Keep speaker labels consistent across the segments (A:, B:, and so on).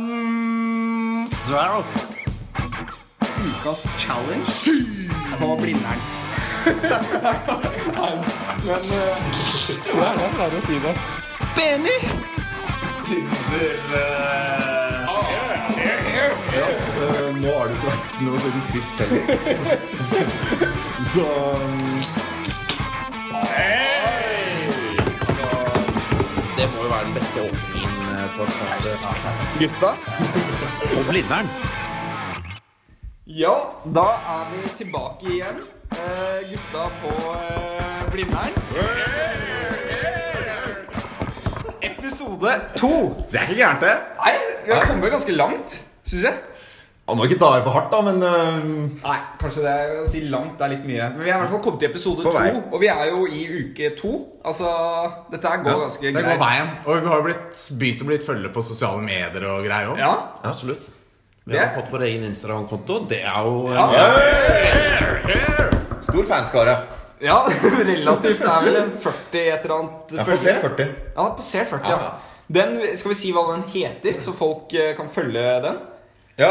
A: San Sverro.
B: Ukas challenge på Blindern.
C: eh,
A: Hva er det jeg pleier å si det? Benny!
D: Eh, Nå har det ikke vært noe siden sist heller. Så
C: eh, altså, Det må jo være den beste åpningen eh, på en Gutta på Blindern.
B: Ja, da er vi tilbake igjen. Eh, gutta på eh, Blindern. Episode to.
D: Det er ikke gærent, det.
B: Nei, vi har kommet ganske langt, syns jeg.
D: Ja, nå ikke ta i for hardt, da, men eh,
B: Nei, kanskje det er, å si langt er litt mye. Men vi er i hvert fall kommet til episode
D: På
B: to.
D: vei.
B: Og vi er jo i uke to. Altså, dette her går ganske
D: det går
B: greit.
D: veien. Og vi har blitt, begynt å bli et følge på sosiale medier og greier òg.
B: Ja.
C: Absolutt. Vi
B: Det-
C: har fått vår egen Instagram-konto. Det er jo eh,
B: Ja.
D: Stor fanskare.
B: ja, relativt. Det er vel en 40 et eller annet.
D: Jeg får se 40.
B: Ja, den er passert 40, ja.
D: Ja.
B: Den, skal vi si hva den heter, så folk eh, kan følge den?
D: Ja.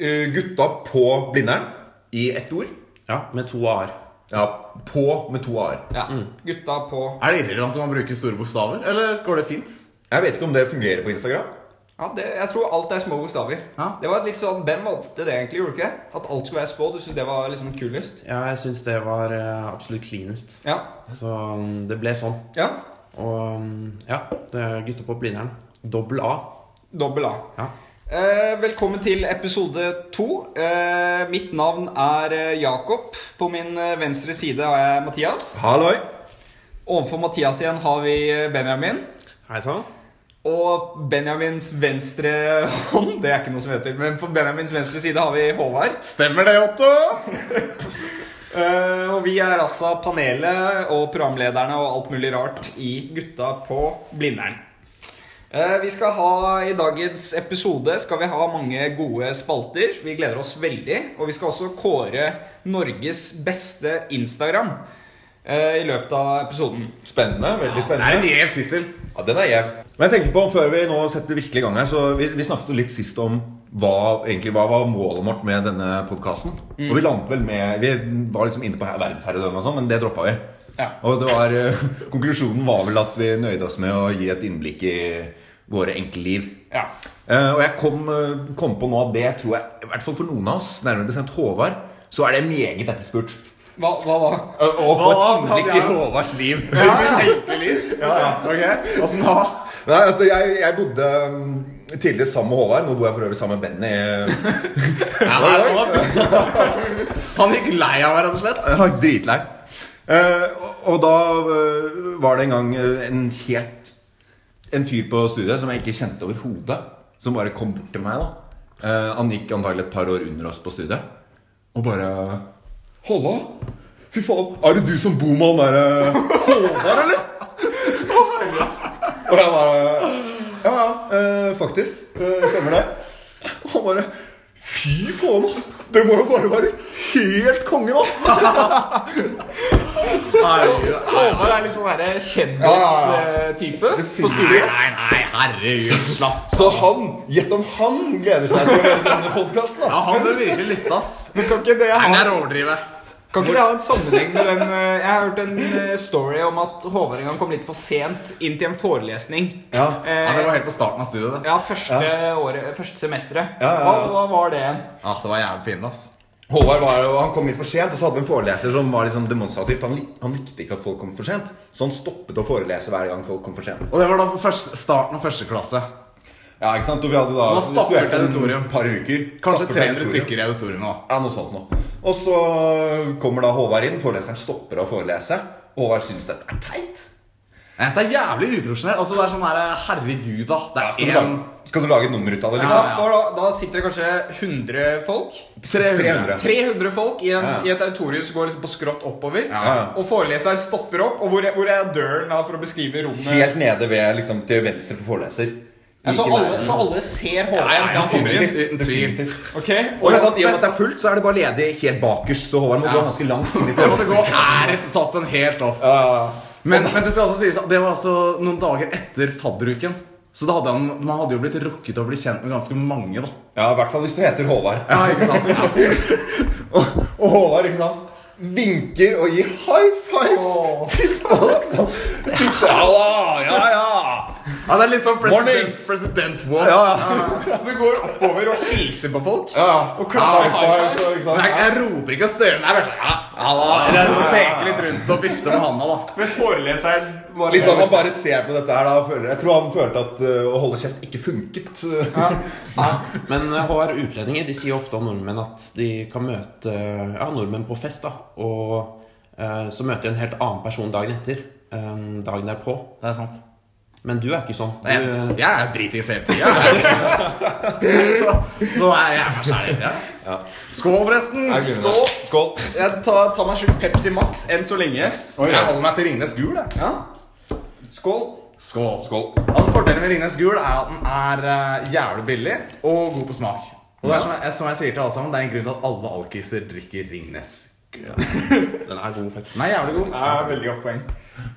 D: eh, Gutta på Blindern i ett ord.
C: ja, med to a-er.
D: Ja. På med to a-er.
B: Ja. Mm. Gutta på
D: Er det irrelevant om man bruker store bokstaver, eller går det fint? Jeg vet ikke om det fungerer på Instagram.
B: Ja, det, Jeg tror alt er små bokstaver.
D: Ja.
B: Det var litt sånn, Hvem valgte det, egentlig? gjorde du ikke? At alt skulle være små? Du syntes det var liksom kulest?
C: Ja, jeg syns det var eh, absolutt cleanest.
B: Ja.
C: Så mm, det ble sånn.
B: ja.
C: Og mm, ja, det er gutter på Blindern. Dobbel A.
B: Dobbel A.
C: Ja.
B: Eh, velkommen til episode to. Eh, mitt navn er eh, Jakob. På min eh, venstre side har jeg Mathias.
D: Halloi.
B: Overfor Mathias igjen har vi eh, Benjamin.
C: Hei sann.
B: Og Benjamins venstre hånd Det er ikke noe som heter Men på Benjamins venstre side har vi Håvard.
D: Stemmer det, Otto?
B: Eh, og vi er altså panelet og programlederne og alt mulig rart i Gutta på Blindern. Eh, vi skal ha I dagens episode skal vi ha mange gode spalter. Vi gleder oss veldig. Og vi skal også kåre Norges beste Instagram eh, i løpet av episoden.
E: Spennende, veldig
D: Det er en
E: spennende.
D: gjev tittel.
E: Ja, den er jevn.
D: Men jeg tenker på, før vi nå setter virkelig i gang her, så vi, vi snakket jo litt sist om hva, egentlig, hva var målet vårt med denne podkasten. Og vi landet vel med Vi var liksom inne på her- verdensherredømme og sånn, men det droppa vi.
B: Ja.
D: Og det var, eh, konklusjonen var vel at vi nøyde oss med å gi et innblikk i våre enkeltliv.
B: Ja.
D: Eh, og jeg kom, eh, kom på nå at det tror jeg, i hvert fall for noen av oss, nærmere bestemt Håvard, så er det meget etterspurt.
B: Hva, hva da?
D: Å å få et
C: Hva?
D: innblikk i Håvards liv. Ja, ja.
C: Ok, åssen da?
D: Nei, altså jeg, jeg bodde um, tidligere sammen med Håvard. Nå bor jeg for øvrig sammen med Benny. eh,
C: Ja, nei, han var- Han gikk lei av meg, rett og slett.
D: Jeg var dritlei. Eh, og, og da eh, var det en gang eh, en helt En fyr på studiet som jeg ikke kjente overhodet, som bare kom bort til meg. da Eh, Han gikk antagelig et par år under oss på studiet. Og bare 'Halla! Fy faen, er det du som bor med han derre Håvard, eller?' Og jeg bare Ja, ja, eh, faktisk. Eh, stemmer det. Og han bare Fy faen, ass! Det må jo bare være helt konge, da!
B: Håvard er litt sånn derre kjendistype på studiet.
C: Nei, nei, herregud, slapp
D: Så han, gjett om han gleder seg til å høre denne podkasten, da!
C: Ja, han bør virkelig lytte, ass.
B: Men kan ikke det ha,
C: Han er overdrivet.
B: kan ikke det ha en sammenheng med den eh, Jeg har hørt en eh, story om at Håvard en gang kom litt for sent inn til en forelesning.
D: Ja.
B: Eh,
C: Ja, det var helt på starten av studiet, det.
B: ja, første, Året, første semesteret.
D: Ja, ja, ja.
B: Hva, hva var det igjen?
C: Ja, Ah, det var jævlig fint, ass.
D: Håvard var, jo- han kom litt for sent, og så hadde vi en foreleser som var litt sånn demonstrativt. Han, lik, han likte ikke at folk kom for sent, så han stoppet å forelese hver gang folk kom for sent.
C: Og det var da på første, starten av første klasse.
D: Ja, ikke sant? Og vi hadde da,
C: Det var stappfullt
D: studert en
C: auditorium.
D: par uker.
C: Kanskje
D: Stappfullt
C: 300
D: auditorium.
C: stykker i auditoriet nå.
D: Ja, noe sånt noe. Og så kommer da Håvard inn, foreleseren stopper å forelese. Håvard syns dette er teit.
C: Jeg synes det er jævlig uprofesjonelt. Altså, det er sånn her, herregud, da. Det er
D: Skal du,
C: en...
D: lage, skal du lage et nummer ut av det?
B: Da,
D: Liksom?
C: ja.
B: da, da sitter det kanskje 100 folk.
D: 300.
B: 300 folk i, en,
D: Ja.
B: i et auditorium som går liksom på skrått oppover.
D: Ja.
B: Og foreleseren stopper opp. Og hvor, er- hvor er døren da for å beskrive rommet?
D: Helt nede ved, liksom, til venstre for foreleser.
B: ja, så,
D: Ikke
B: alle,
D: nærmere.
B: så alle
C: Nei,
B: ser Håvard?
C: nei,
B: da kommer inn.
C: definitivt, uten tvil.
B: Ok,
D: Og ikke sant, I og med at det er fullt, så er det bare ledig helt bakerst. Så Håvard må
C: Ja.
D: gå ganske langt inn i
C: Det måtte
D: forelesningen.
C: gå ærestappen helt opp. Men, men det skal også sies at det var altså noen dager etter fadderuken. Så da hadde han, man hadde jo blitt rukket å bli kjent med ganske mange, da.
D: Ja, i hvert fall hvis du heter Håvard.
C: Ja, ikke sant?
D: Og, og Håvard, ikke sant? Vinker og gir high fives til folk som sitter Ja da, ja ja.
C: Ja, det er litt sånn president,
D: Mornings.
C: president walk.
D: ja,
B: Så du går oppover og hilser på folk?
D: ja.
B: Og klapper
D: High
B: high
D: fives, og, ikke sant?
C: Men jeg, jeg roper ikke og støler. Jeg bare sånn ja, ja, da. Eller jeg så peker litt rundt og vifter med handa, da.
B: Mens foreleseren bare
D: Liksom Han bare ser på dette her da og føler Jeg tror han følte at øh, å holde kjeft ikke funket.
F: Men eh, HR utlendinger de sier ofte om nordmenn at de kan møte eh, ja, nordmenn på fest. da Og eh, så møter de en helt annen person dagen etter. eh, dagen derpå.
C: Det er sant.
F: Men du er ikke sånn. Du,
C: Jeg, jeg er dritings hele tida. Så, så er jeg meg sjæl hele tida. Skål, forresten!
B: Stå. Jeg tar, tar meg en slurk Pepsi Max enn så lenge.
C: Oi, Jeg holder meg til Ringnes Gul. Jeg.
B: Ja. Skål.
C: Skål.
D: Skål.
C: Altså Fordelen med Ringnes Gul er at den er eh, jævlig billig og god på smak. Og det er som jeg, som jeg sier til alle sammen, det er en grunn til at alle alkiser drikker Ringnes.
F: den er god, faktisk.
C: Den er jævlig god.
B: Det er veldig godt poeng.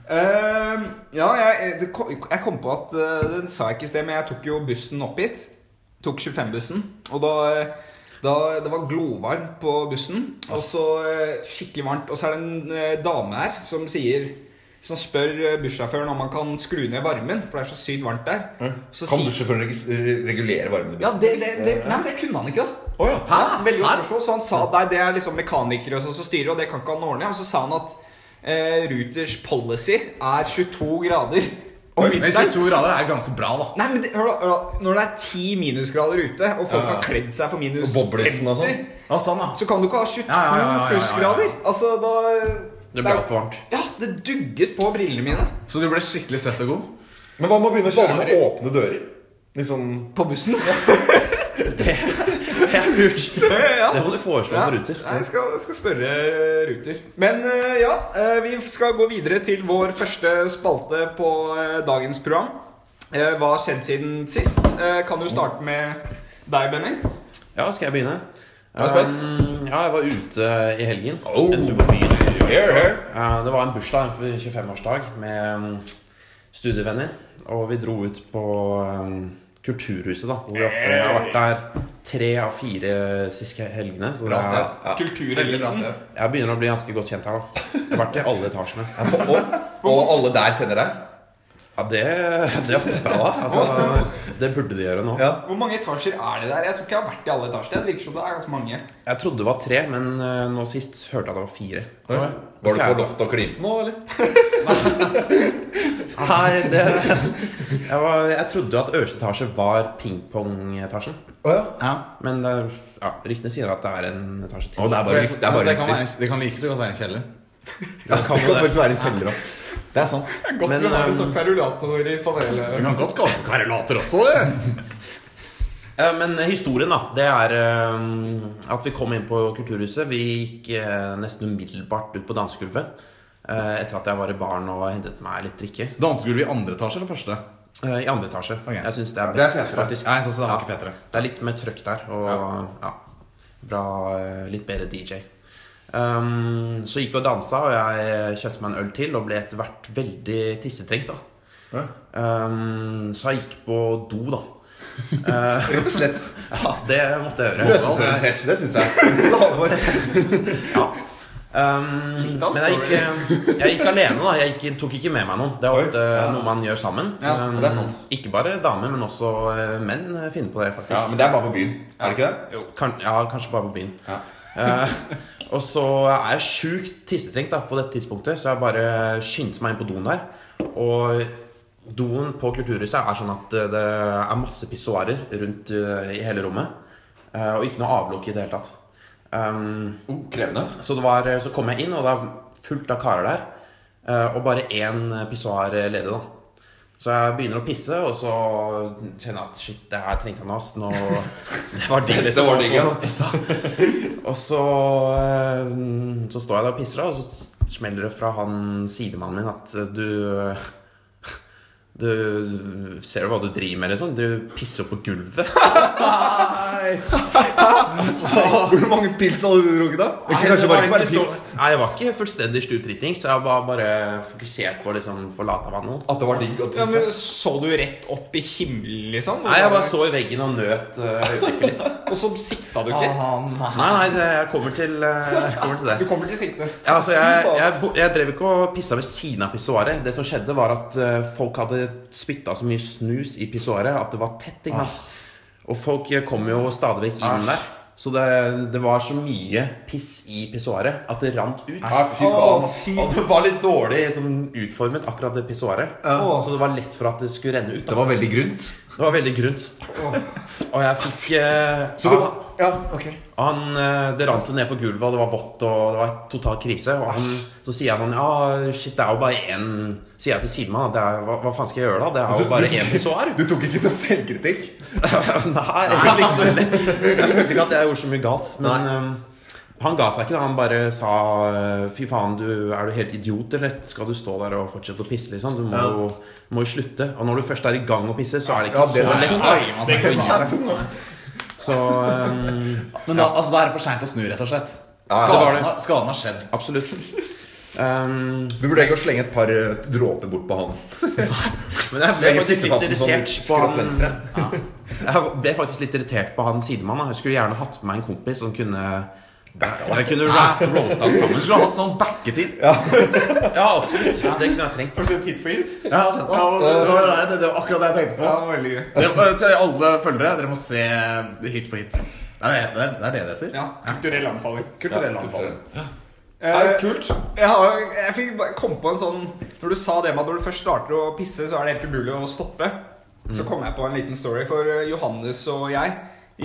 B: Eh, ja, jeg, det kom, jeg kom på at eh, Den sa jeg ikke i sted, men jeg tok jo bussen opp hit. Tok 25-bussen. Og da, eh, da Det var glovarmt på bussen. Og så eh, skikkelig varmt. Og så er det en eh, dame her som sier som spør eh, bussjåføren om han kan skru ned varmen, for det er så sykt varmt der. Så
D: Kan
B: sier-
D: bussjåføren reg- regulere varmen i
B: Ja,
D: bussen?
B: det, det, det, nei, men det kunne han ikke, da.
D: Å, ja.
B: Hæ? Veldig godt spørsmål. Så han sa nei, det er liksom mekanikere og sånn som styrer, og det kan ikke han ordne. Og så sa han at eh, Ruters policy er 22 grader om
C: Men
B: vinteren.
C: 22 grader er ganske bra, da.
B: Nei, men det, hør, da, hør da. Når det er 10 minusgrader ute, og folk har kledd seg for minus
D: Og boblesen og sånn.
B: 50,
C: Ja, sånn, da.
B: så kan du ikke ha 22
C: Ja, ja, ja, ja, ja, ja.
B: plussgrader. Altså, da
F: Det ble altfor varmt.
B: Ja, det dugget på brillene mine.
C: Så du ble skikkelig svett og god?
D: Men hva med å begynne å kjøre med åpne dører? Litt sånn
B: På bussen. Ja,
F: Det er lurt.
B: ja.
F: Det må du foreslå
B: Ja,
F: på Ruter.
B: Nei, jeg skal, jeg skal spørre eh, Ruter. Men eh, ja, eh, vi skal gå videre til vår første spalte på eh, dagens program. Eh, Hva har skjedd siden sist? Eh, Kan du starte med deg, Benny?
F: Ja, skal jeg
B: Ja,
F: begynne?
B: det er
F: Um, ja, jeg var ute i helgen. En tur på byen. Eh, Det var en bursdag, en 25-årsdag, med um, studievenner. Og vi dro ut på um, Kulturhuset, da, hvor vi ofte jeg har vært der tre av fire siste helgene. Så det
C: Bra
F: er,
C: sted. Veldig bra
B: Kultureliten.
C: sted.
F: jeg begynner å bli ganske godt kjent her. da Jeg har vært i alle etasjene.
D: og, og alle der kjenner deg?
F: Ja, det, det håper jeg, da. Altså, det burde de gjøre nå.
D: Ja.
B: Hvor mange etasjer er det der? Jeg tror ikke jeg har vært i alle etasjer. Det virker som det er ganske mange.
F: Jeg trodde det var tre, men eh, nå sist hørte jeg at det var fire.
D: Var du på loftet og klinte nå, eller?
F: Nei, det jeg, var, jeg trodde jo at øverste etasje var pingpongetasjen.
D: Å ja.
C: Ja.
F: Men det er- ja, ryktene sier at det er en etasje til.
D: Å, det er bare rykter. Det er bare
C: kan
D: rykter.
C: være, det kan like så godt være en kjeller.
D: Det kan faktisk være en kjeller òg. Det er sant.
B: Godt
F: Men,
B: vi har en
F: eh,
B: sånn perulator i panelet.
C: Du kan godt kalle det karelater også, du.
F: Eh, Men historien, da, det er eh, at vi kom inn på Kulturhuset. Vi gikk eh, nesten umiddelbart ut på dansegulvet. eh, Etter at jeg var i baren og hentet meg litt drikke.
C: Dansegulv i andre etasje eller første?
F: Eh, I andre etasje.
C: Ok.
F: Jeg syns det er
D: Det er
F: best,
D: fetere.
F: faktisk.
C: Nei, sånn så det var ikke fetere.
F: Det er litt mer trøkk der, og ja. Bra, eh, litt bedre DJ. Um, så gikk vi og dansa, og jeg kjøpte meg en øl til og ble etter hvert veldig tissetrengt. da.
D: Ja.
F: Um, så jeg gikk på do, da.
D: Rett og slett.
F: Ja, det måtte jeg gjøre.
D: Løsningsorientert. Det syns jeg. Alvor.
F: Ja. Um,
B: Litt av
F: men jeg gikk, eh, jeg gikk alene, da. Jeg gikk, tok ikke med meg noen. Det er
D: Oi,
F: ofte noe man gjør sammen.
B: Ja,
F: Um,
D: det er sant.
F: Ikke bare damer, men også eh, menn eh, finner på det, faktisk.
D: Ja, men det er bare på byen. Er det ikke det?
F: Kan, ja, kanskje bare på byen.
D: Ja.
F: Eh, og så er jeg sjukt tissetrengt da, på dette tidspunktet, så jeg bare skyndte meg inn på doen der. Og doen på Kulturhuset er sånn at eh, det er masse pissoarer rundt eh, i hele rommet. eh, og ikke noe avlukke i det hele tatt. Um,
D: Oh, krevende.
F: så, det var, så kom jeg inn, og det er fullt av karer der. eh, Og bare én pissoar ledig, da. Så jeg begynner å pisse, og så kjenner jeg at shit, det her trengte jeg nå. ass. Nå Det var det
D: Det var digg, ja.
F: pissa. Og så, eh, så står jeg der og pisser, da, og så smeller det fra han sidemannen min at eh, du Du ser jo hva du driver med, liksom. Du pisser opp på gulvet.
D: Hvor mange pils hadde du drukket, da? Det
F: Nei,
D: kunne kanskje
F: det var
D: bare ikke være
F: ikke
D: pils.
F: så- Nei, jeg var ikke fullstendig stutritting, så jeg var bare fokusert på å liksom forlate vannet.
D: At det var digg å
B: Ja, men
D: tisse.
B: Så du rett opp i himmelen, liksom?
F: Nei, jeg bare så i veggen og nøt eh, øyeblikket litt.
B: Og så sikta du ikke?
C: Ah, nei.
F: Nei, nei, jeg kommer til, eh, jeg kommer til det.
B: Du kommer til sikte.
F: Ja, altså, jeg, jeg, bo- jeg drev ikke og pissa ved siden av pissoaret. Det som skjedde, var at eh, folk hadde spytta så mye snus i pissoaret at det var tett. ikke sant?
D: Ah.
F: Og folk eh, kom jo stadig vekk inn der. Så det, det var så mye piss i pissoaret at det rant ut.
D: Ja, fy faen. ass.
F: Og det var litt dårlig sånn, utformet, akkurat det pissoaret.
D: Ja.
F: Så det var lett for at det skulle renne ut.
D: Det
F: Da.
D: var veldig grunt.
F: Det var veldig grunt. Og jeg fikk eh,
D: Så det var Ja, ok.
F: han, eh, det rant jo ned på gulvet, og det var vått, og det var total krise. Og han, så sier han ja, shit, det er jo bare én Sier jeg til Sidemann at det er, hva, hva faen skal jeg gjøre da? Det er jo bare én pissoar.
D: Du tok ikke noe selvkritikk?
F: Nei, egentlig ikke så veldig. Jeg følte ikke at jeg gjorde så mye galt. Men eh, han ga seg ikke. da Han bare sa eh, fy faen, du, er du helt idiot, eller skal du stå der og fortsette å pisse, liksom? Du må
D: Ja.
F: jo må jo slutte. Og når du først er i gang å pisse, så er det
D: Ja,
F: ikke
D: det er-
F: så lett.
C: Det sånn- kan gi seg.
F: Så eh,
C: Men da, altså, da er det for seint å snu, rett og slett.
F: ja, det var det.
C: Skaden, har- skaden har skjedd.
F: absolutt. Um,
D: Du burde ikke å slenge et par eh, dråper bort på han.
F: Men jeg ble
D: Legge
F: faktisk litt
D: tissefaten sånn
F: irritert på
D: skrått
F: han
D: venstre.
F: Jeg ble faktisk litt irritert på han sidemannen. Jeg skulle gjerne hatt med meg en kompis som kunne Jeg kunne ra- roasta han sammen.
C: Du skulle ha hatt sånn backetid.
F: Ja, absolutt. Det kunne jeg trengt.
B: Har du sett Hit for hit?
C: Ja, altså, ass, det, var, det, det var akkurat det jeg tenkte på.
B: Ja, veldig gøy.
C: Dere, eh, til alle følgere, dere må se Hit for hit. Det er det det, er det, det heter.
B: Ja, Kulturell anbefaling. Kulturell anbefaling.
D: Ja,
B: Eh,
D: kult.
B: Jeg, har, jeg fikk bare komme på en sånn Når du sa det med at når du først starter å pisse, så er det helt umulig å stoppe. Så kom jeg på en liten story for eh, Johannes og jeg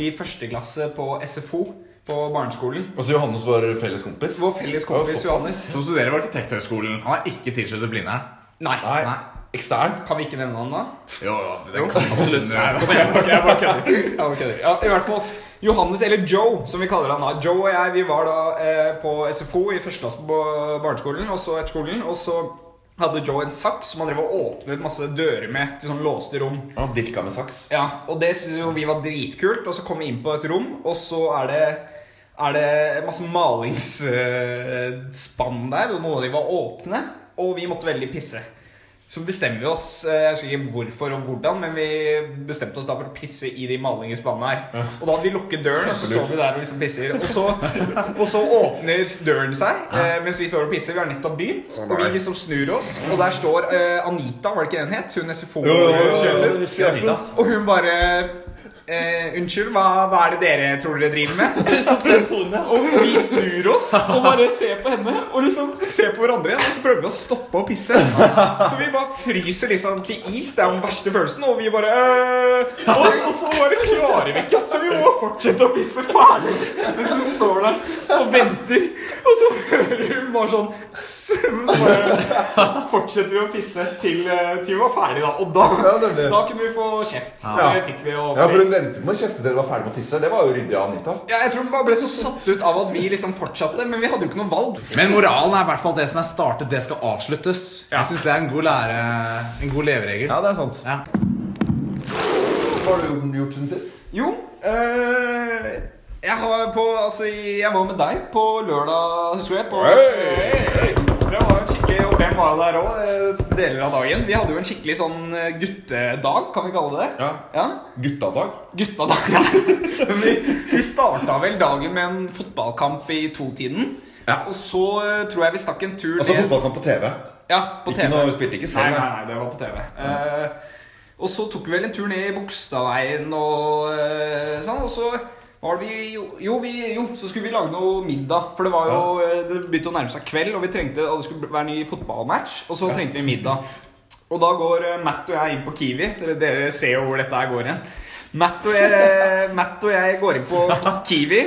B: i første klasse på SFO på barneskolen.
D: Og så Johannes var felles kompis.
B: Vår felles
D: Ja, såpass.
B: kompis Johannes.
C: Som studerer ved Arkitekthøgskolen. Han er ikke tilsluttet Blindern.
B: Nei.
D: Nei.
C: Nei.
D: Ekstern.
B: Kan vi ikke nevne han da?
C: Jo, jo, det kan absolutt.
B: Jeg bare kødder. Jeg bare kødder. Ja, I hvert fall Johannes, eller Joe, som vi kaller han da. Joe og jeg vi var da eh, på SFO i første klasse på barneskolen, og så etter skolen. Og så hadde Joe en saks som han drev og åpnet masse dører med til sånn låste rom.
D: Han dirka med saks.
B: Ja, og det synes jo vi var dritkult. Og så kom vi inn på et rom, og så er det er det masse malingsspann der, og noen av de var åpne. Og vi måtte veldig pisse. Så bestemmer vi oss eh, jeg husker ikke hvorfor og hvordan, men vi bestemte oss da for å pisse i de malingsspannene her. Og da hadde vi lukket døren, og så står vi der og liksom pisser. Og så, og så åpner døren seg eh, mens vi står og pisser. Vi har nettopp begynt, og vi liksom snur oss, og der står eh, Anita, var det ikke den het? Hun SFO-sjefen.
F: Adidas.
B: Og hun bare eh, Unnskyld, hva, hva er det dere tror dere driver med? Og vi snur oss og bare ser på henne og liksom ser på hverandre igjen. Og så prøver vi å stoppe å pisse. Så vi bare fryser liksom til is. Det er den verste følelsen. Og vi bare eh, og, og så bare klarer vi ikke. Så vi må fortsette å pisse ferdig mens hun står der og venter. Og så hører hun bare sånn tss, Så bare fortsetter vi å pisse til, eh, til vi var ferdig da. Og da
G: Ja, nemlig.
B: da kunne vi få kjeft.
G: Ja.
B: Det fikk vi jo.
G: Ja, for hun ventet med å kjefte til dere var ferdig med å tisse. Det var jo ryddig av Anita.
B: Ja, jeg tror hun bare ble så satt ut av at vi liksom fortsatte, men vi hadde jo ikke noe valg.
C: Men moralen er i hvert fall at det som er startet, det skal avsluttes. Jeg syns det er en god lære En god leveregel.
D: det er sant.
C: Ja.
G: Hva har du gjort siden sist?
B: Jo, øh, jeg, har på, altså, jeg var med deg på lørdag, husker du det? På, Det var en skikkelig, og hvem var der òg, deler av dagen. Vi hadde jo en skikkelig sånn eh, guttedag, kan vi kalle det det?
D: Ja.
B: ja?
D: Guttadag.
B: Gutta da Men Vi, vi starta vel dagen med en fotballkamp i totiden.
D: Ja.
B: Og så eh, tror jeg vi stakk en tur
G: Altså fotballkamp på TV.
B: Ja, på
D: Ikke
B: TV.
D: noe, spilte ikke
B: Nei,
D: selv.
B: nei, nei, det var på TV. Eh, og så tok vi vel en tur ned i Bogstadveien og eh, sånn, og så var det vi jo, jo, vi, jo, så skulle vi lage noe middag. For det var jo eh, Det begynte å nærme seg kveld, og vi trengte, og det skulle være ny fotballmatch. Og så trengte vi middag. Og da går eh, Matt og jeg inn på Kiwi. Dere, dere ser jo hvor dette her går hen. Matt og, jeg, Matt og jeg går inn på Kiwi.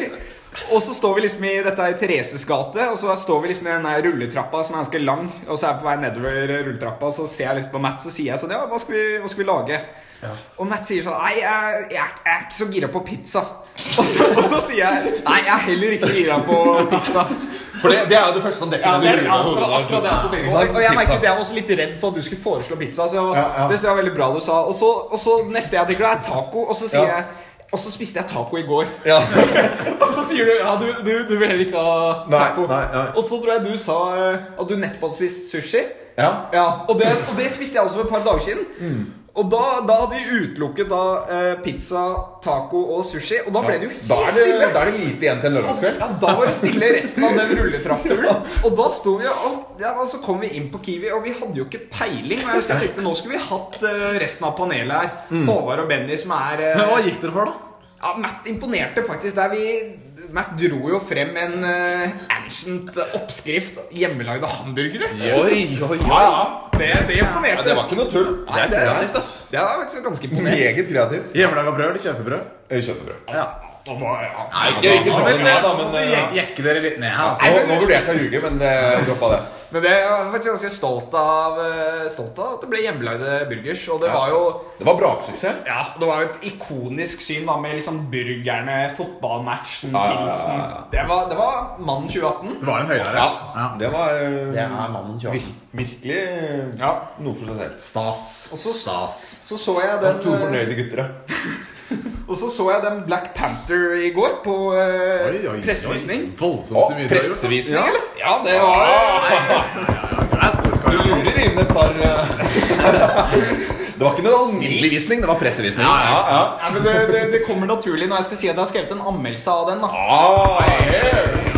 B: Og så står vi liksom i dette er i Thereses gate, og så står vi liksom i den der rulletrappa som er ganske lang. Og så er jeg på vei nedover rulletrappa, og så ser jeg liksom på Matt, så sier jeg sånn Ja, hva skal vi, hva skal vi lage? Og Matt sier sånn Nei, jeg, jeg, er- jeg er ikke så gira på pizza. Og så, og så sier jeg Nei, jeg er heller ikke så gira på pizza.
G: For det, det er jo det første som dekker
B: det
G: denne
B: er
G: rulla.
B: akkurat, akkurat det jeg også tenker.
C: Og-
B: Og, og jeg merket at jeg var også litt redd for at du skulle foreslå pizza. Så jeg var,
G: Ja, ja.
B: Det synes jeg var veldig bra du sa Og så, og så neste jeg tenker, det er taco. Og så sier
G: Ja.
B: jeg Og så spiste jeg taco i går.
G: Ja.
B: og så sier du ja, du, du, du vil heller ikke ha
G: Nei,
B: taco.
G: nei, nei.
B: Og så tror jeg du sa eh, at du nettopp hadde spist sushi.
G: Ja.
B: Ja, og det, og det spiste jeg også for et par dager siden.
G: Mm.
B: Og da, da hadde vi utelukket da eh, pizza, taco og sushi. Og da ble det jo helt
G: Da er det,
B: stille.
G: da er det lite igjen til en lørdagskveld.
B: Ja, da var det stille resten av den rulletrapturen. Og da sto vi og, ja, og så kom vi inn på Kiwi, og vi hadde jo ikke peiling. Og jeg husker jeg tenkte, Nå skulle vi hatt eh, resten av panelet her. Håvard og Benny, som er eh,
F: Mm. Men hva gikk dere for, da?
B: ja, Matt imponerte faktisk der vi Matt dro jo frem en eh, ancient oppskrift. Hjemmelagde hamburgere.
F: Oi, oi,
G: Ja,
F: oi.
G: ja.
B: Det, det
G: ja,
B: imponerte.
G: det var ikke noe tull.
F: Det er kreativt, ass.
B: Det var faktisk ganske imponerende.
G: Meget kreativt.
F: Hjemmelaga brød eller kjøpebrød?
G: Jeg kjøper brød.
C: Nei,
G: ikke- ikke dra det ned, da, men,
C: Nå
G: eh,
C: jekker dere litt ned her, altså.
G: Nå, nå vurderte jeg å ljuge, men eh, droppa det.
B: Men det jeg var faktisk ganske stolt av, eh, stolt av at det ble hjemmelagde burgers. Og det var jo
G: Det var braksuksess.
B: Ja, det var jo et ikonisk syn da med liksom burgerne, fotballmatchen,
G: Ja, ja, ja, ja.
B: pilsen. Det var, det var mannen 2018.
C: Det var en høydere.
G: Ja.
C: Ja.
G: Det var eh,
F: Det er mannen
G: vir
F: kjøper.
G: virkelig eh,
B: Ja.
G: noe for seg selv.
C: Stas.
B: Og så-
C: Stas.
B: Så så jeg
G: Det er to
B: den, eh,
G: fornøyde gutter, ja.
B: og så så jeg den Black Panther i går på eh,
C: Oi, oi, oi.
B: pressevisning.
C: Voldsomt så mye du har gjort.
G: pressevisning, eller? Ah.
B: Ja, det var
C: Det er storkar.
G: Du lurer inn et par eh, Det var ikke noe alminnelig visning, det var pressevisning.
C: Ja, ja, ikke sant.
B: Nei, men det, det, det kommer naturlig når jeg skal si at jeg har skrevet en anmeldelse av den. da
G: Ah,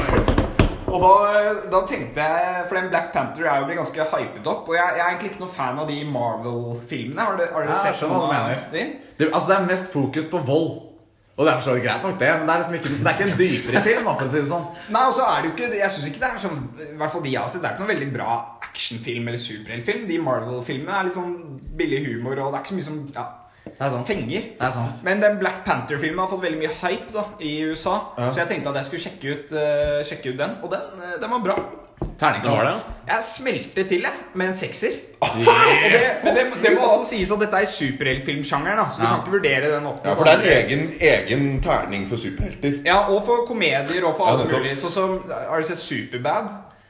B: Og da, da tenkte jeg For den Black Panther er jo blitt ganske hypet opp. Og jeg, jeg er egentlig ikke noen fan av de Marvel-filmene. Har dere, har dere
C: Ja, jeg
B: sett
C: skjønner hva
B: noen
C: du
B: av de?
C: Det, altså, det er mest fokus på vold. Og det er for så vidt greit nok, det, men det er liksom ikke, det er ikke en dypere film. da, for å si det sånn.
B: Nei, og så er det jo ikke Jeg synes ikke det er sånn I hvert fall de jeg har sett, det er ikke noen veldig bra actionfilm eller superheltfilm. De Marvel-filmene er litt sånn billig humor, og det er ikke så mye som ja,
C: Det er sant.
B: fenger.
C: Det er sant.
B: Men den Black Panther-filmen har fått veldig mye hype da i USA, så jeg tenkte at jeg skulle sjekke ut, eh, sjekke ut den. Og den, eh, den var bra.
F: Terningkast.
B: Jeg smelter til jeg, med en sekser. Og det, men det, det må også sies at dette er i superheltfilmsjangeren, da, så du
C: Ja.
B: kan ikke vurdere den opp mot
G: ja, for det er
B: andre.
G: en egen, egen terning for superhelter.
B: Ja, og for komedier og for
G: Ja,
B: alle
G: nettopp.
B: mulige. Sånn som Har du sett Superbad?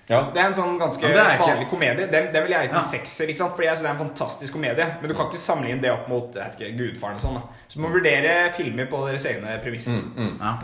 G: Ja.
B: Det er en sånn ganske
C: Men det er ikke-
B: vanlig komedie. Den, den vil jeg gi
C: Ja.
B: en sekser, ikke sant? fordi jeg synes det er en fantastisk komedie. Men
G: Mm.
B: du kan ikke sammenligne det opp mot jeg vet ikke, Gudfaren og sånn. da Så du må vurdere filmer på deres egne
G: Mm.
B: premisser.
C: Ja.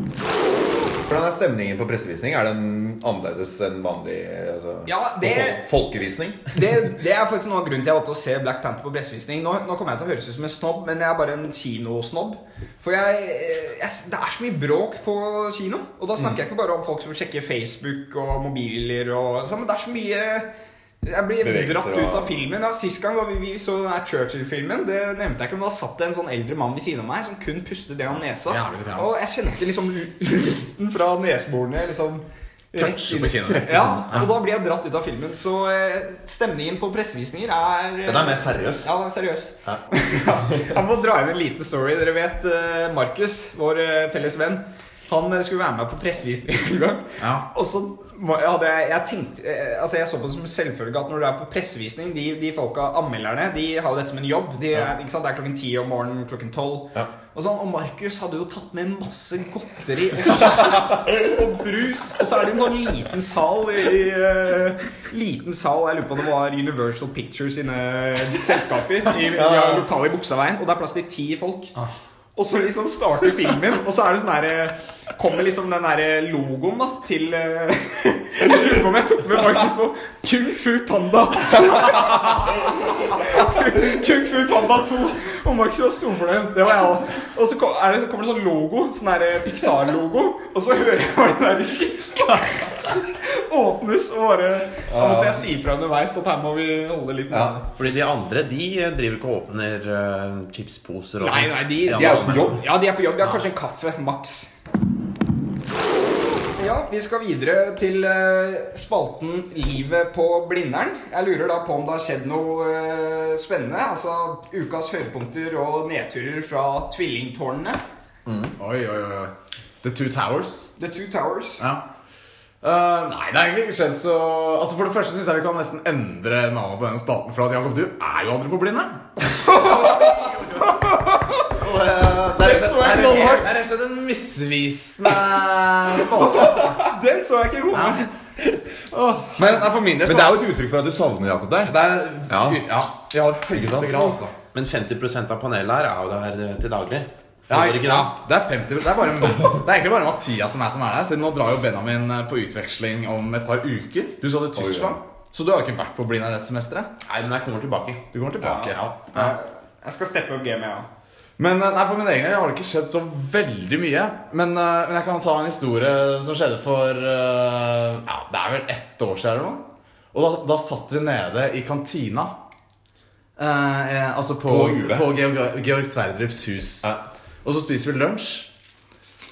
G: Hvordan er stemningen på pressevisning? Er den annerledes enn vanlig altså,
B: Ja, det-
G: fol- folkevisning?
B: Det, det er faktisk noe av grunnen til jeg valgte å se Black Panther på pressevisning. Nå, nå kommer jeg til å høres ut som en snobb, men jeg er bare en kinosnobb. For jeg, eh, jeg, det er så mye bråk på kino. Og da snakker jeg ikke bare om folk som sjekker Facebook og mobiler og sånn, men det er så mye jeg blir
G: Bevegelser
B: dratt
G: og-
B: ut av filmen. Ja, Sist gang da vi, vi så den her Churchill-filmen, Det nevnte jeg ikke, men da satt det en sånn eldre mann ved siden av meg som kun pustet gjennom nesa.
C: Jævlig trans.
B: Og jeg kjente liksom luften fra nesborene liksom
C: Toucher på kinnet.
B: Treffer. Ja, og da blir jeg dratt ut av filmen. Så eh, stemningen på pressevisninger er eh,
G: Den er mer seriøs.
B: Ja, den er seriøs. jeg må dra inn en liten story. Dere vet eh, Markus, vår eh, felles venn. Han eh, skulle være med på pressevisning en gang.
C: Ja.
B: Og så var- hadde jeg, jeg tenkte eh, Altså jeg så på det som selvfølge at når du er på pressevisning De, de folka, anmelderne, de har jo dette som en jobb. De, er- ikke sant? Det er klokken ti om morgenen, klokken tolv.
G: Ja.
B: Og, sånn, og Markus hadde jo tatt med masse godteri og chips og brus. Og så er det en sånn liten sal i eh, Liten sal, jeg lurer på om det var Universal Pictures sine selskaper. I, i lokale i Buksaveien. Og det er plass til ti folk. Og så liksom starter filmen, og så er det sånn derre Kommer liksom den derre logoen, da, til eh, Jeg lurer på om jeg tok med Markus på Kung Fu Panda. Kung Fu Panda 2. Og Markus var stor for det. Det var jeg òg. Og så kom, er det, kommer det sånn logo, sånn derre Pixar-logo, og så hører jeg bare den derre chipspakka åpnes, og bare Da måtte jeg si ifra underveis at her må vi holde litt
G: Ja.
F: Fordi de andre de eh, driver ikke og åpner eh, chipsposer og
B: Nei,
F: sånn.
B: nei, de,
F: Ja,
G: De er jo på jobb.
B: Ja, de er på jobb. De har kanskje en kaffe, maks. Ja, Vi skal videre til eh, spalten 'Livet på Blindern'. Jeg lurer da på om det har skjedd noe eh, spennende. Altså ukas høydepunkter og nedturer fra tvillingtårnene.
C: Oi, oi, oi. oi. The Two Towers.
B: The Two Towers.
C: Ja. Eh, nei, det har egentlig ikke skjedd så Altså For det første syns jeg vi kan nesten endre navnet på denne spalten. For at Jakob, du er jo aldri på Blindern. Så det, det, er, det, er, det, er, det er rett og slett en misvisende spalte.
B: Den så jeg ikke komme.
C: Men det er for min del
D: Men
C: så
D: det er jo et uttrykk for at du savner Jakob der.
C: det er ja.
D: Ja.
C: ja. I aller høyeste grad, altså.
F: Men 50 av panelet her er jo det her eh, til daglig.
C: Ja,
F: Holder ikke det?
C: ja, det er 50 Det er, bare, det er egentlig bare Mathias som er som er der. Siden nå drar jo Benjamin eh, på utveksling om et par uker. Du skal til Tyskland. Så du har jo ikke vært på Blindern dette semesteret?
F: Nei, men jeg kommer tilbake.
C: Du kommer tilbake. Ja,
B: Jeg skal steppe opp gamet, ja.
C: Men eh, nei, for min egen del har det ikke skjedd så veldig mye. Men, eh, men jeg kan ta en historie som skjedde for eh, ja, Det er vel ett år siden eller noe. Og da, da satt vi nede i kantina. eh, eh, altså på,
G: UB.
C: på, Georg, Georg Sverdrups hus. Og så spiser vi lunsj.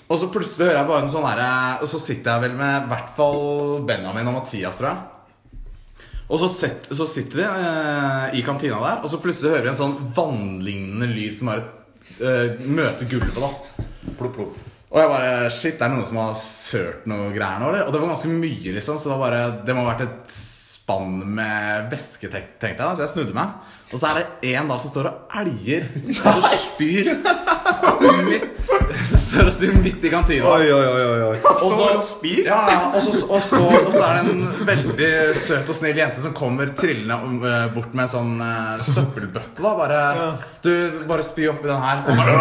C: Og så plutselig hører jeg bare en sånn herre Og så sitter jeg vel med i hvert fall Benjamin og Mathias, tror jeg. Og så, set, så sitter vi eh, i kantina der, og så plutselig hører vi en sånn vannlignende lyd som bare eh, møter gulvet. da Og jeg bare Shit, det er noen som har sølt noe greier nå, eller? Og det var ganske mye, liksom, så det, var bare, det må ha vært et spann med væske, tenk- tenkte jeg. da Så jeg snudde meg, og så er det én da som står og elger og så spyr midt Som står og spyr midt i kantina.
D: Oi, oi, oi, oi, oi.
C: Og så, ja, ja, og, så, og, så, og så er det en veldig søt og snill jente som kommer trillende om, eh, bort med en sånn eh, søppelbøtte. da Bare Du, bare spy oppi den her. Og, bare,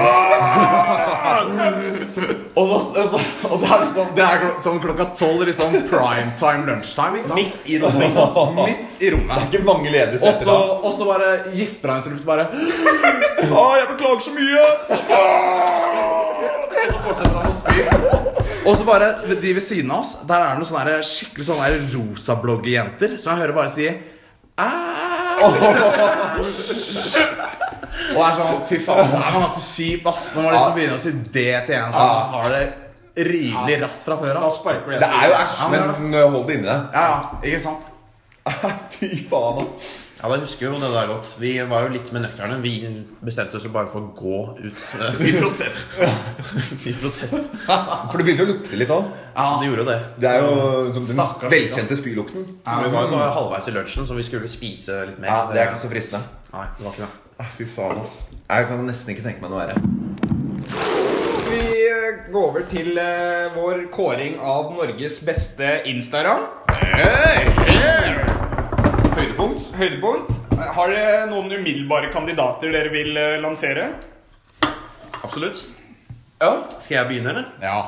C: og så, og så og det er liksom Det er klok sånn klokka tolv, liksom prime time lunsjtime. Ikke sant?
G: Midt i rommet.
C: Midt i rommet.
G: Ikke mange ledige
C: Og
G: seter
C: så,
G: da.
C: og så bare gisper han ut i luften bare
G: Å, jeg beklager så mye!
C: Og så fortsetter han å spy. Og så bare ved- de ved siden av oss, der er det noen sånne her skikkelig sånne her rosabloggjenter. Så jeg hører bare si Æsj! Og det er sånn Fy faen, det er masse kjip, ass. Når man liksom begynner å si det til en som har det rimelig raskt fra før
B: Da
C: av.
B: sparker
G: Det er jo æsj,
C: Ja, men-
G: men øh, hold det inni deg.
C: Ja, ja, ikke sant?
G: Fy faen, ass.
F: Ja, da husker jeg jo det der godt. Vi var jo litt mer nøkterne. Vi bestemte oss jo bare for å gå ut eh,
C: I protest.
F: i protest.
G: For det begynner jo å lukte litt òg.
F: Ja, det gjorde jo det.
G: Det er jo som
C: Stakkars
G: den velkjente spylukten.
F: Vi var jo bare halvveis i lunsjen, så vi skulle spise litt mer.
G: Ja, Det er ikke så fristende.
F: Nei, det var ikke det.
G: Ah, Fy faen, ass. Jeg kan nesten ikke tenke meg noe verre.
B: Vi eh, går over til eh, vår kåring av Norges beste Instagram. Høydepunkt. Høydepunkt. Har dere noen umiddelbare kandidater dere vil eh, lansere?
F: Absolutt.
B: Ja.
F: Skal jeg begynne, eller?
C: Ja.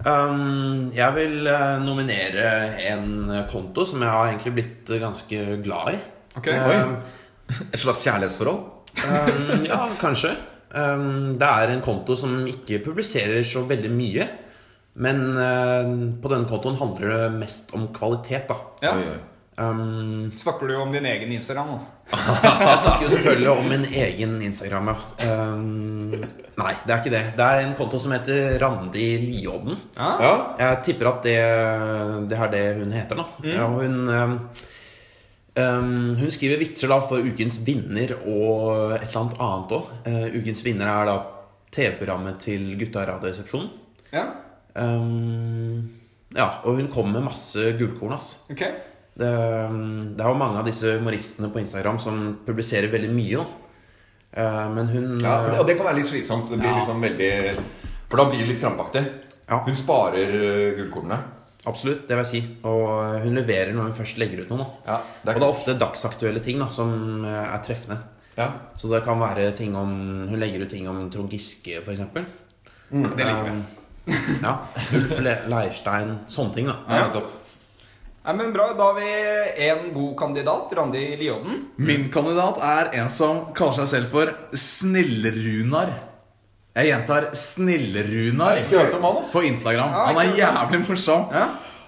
F: Um, jeg vil eh, nominere en eh, konto som jeg har egentlig blitt eh, ganske glad i.
B: Ok,
F: um,
G: Et slags kjærlighetsforhold?
F: um, Ja, kanskje. Um, det er en konto som ikke publiserer så veldig mye. Men eh, på denne kontoen handler det mest om kvalitet, da.
B: ja.
D: Oi, oi.
F: Um,
B: Snakker du om din egen Instagram? nå?
F: Jeg snakker jo selvfølgelig om min egen Instagram. Ja. Um, nei, det er ikke det. Det er en konto som heter Randi Liodden.
B: Ah.
G: Ja.
F: Jeg tipper at det, det er det hun heter, da. Ja, og hun, um, um, hun skriver vitser da for Ukens vinner og et eller annet annet òg. ukens vinner er da TV-programmet til Gutta i Radioresepsjonen.
B: Ja.
F: Um, ja, og hun kommer med masse gullkorn, ass.
B: Ok.
F: Det, Eh, det er jo mange av disse humoristene på Instagram som publiserer veldig mye. Da. Eh, Men hun
G: Ja, for det,
F: eh,
G: og det kan være litt slitsomt. Det blir liksom veldig For da blir det litt krampaktig.
F: Ja.
G: Hun sparer øh, gullkornene.
F: Absolutt, det vil jeg si. Og eh, hun leverer når hun først legger ut noe. Da.
G: Ja, det er-
F: og det er ofte dagsaktuelle ting da, som eh, er treffende.
G: Ja.
F: Så det kan være ting om Hun legger ut ting om Trond Giske, f.eks.
G: Mm,
C: Det liker vi.
F: Ja. Ulf Le- Leirstein. Sånne ting, da.
G: Ja, nettopp.
B: Nei, men bra, Da har vi en god kandidat. Randi Liodden.
C: Min kandidat er en som kaller seg selv for Snillrunar. Jeg gjentar Snillrunar
G: Ikke hørt om han, ass.
C: på Instagram.
B: Ja,
C: Han er
B: ikke
C: jævlig morsom.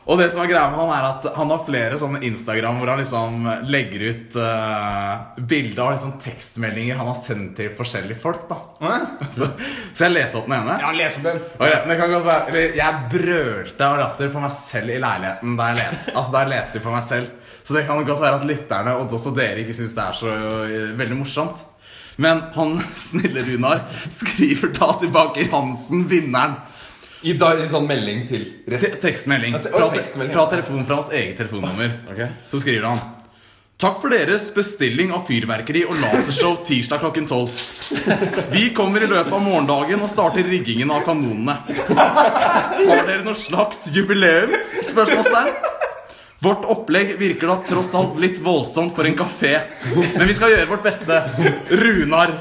C: Og det som er greia med han, er at han har flere sånne Instagram hvor han liksom legger ut eh, bilder av liksom tekstmeldinger han har sendt til forskjellige folk. da
B: Ja,
C: Så Skal jeg lese opp den ene?
B: les opp den.
C: Ok, men det kan godt være eller, Jeg brølte av latter for meg selv i leiligheten da jeg leste Altså da jeg leste det for meg selv Så det kan godt være at lytterne og også dere ikke synes det er så øh, veldig morsomt Men han snille Runar skriver da tilbake i Hansen vinneren
G: I, da, I sånn melding til
C: Te- Tekstmelding
G: te-
C: fra,
G: å, tekstmelding.
C: fra telefonen fra hans eget telefonnummer Så skriver han Takk for deres bestilling av fyrverkeri og lasershow tirsdag klokken 12. Vi kommer i løpet av morgendagen og starter riggingen av kanonene. Har dere noe slags jubileum? Spørsmålstegn. Vårt opplegg virker da tross alt litt voldsomt for en kafé, men vi skal gjøre vårt beste. Runar.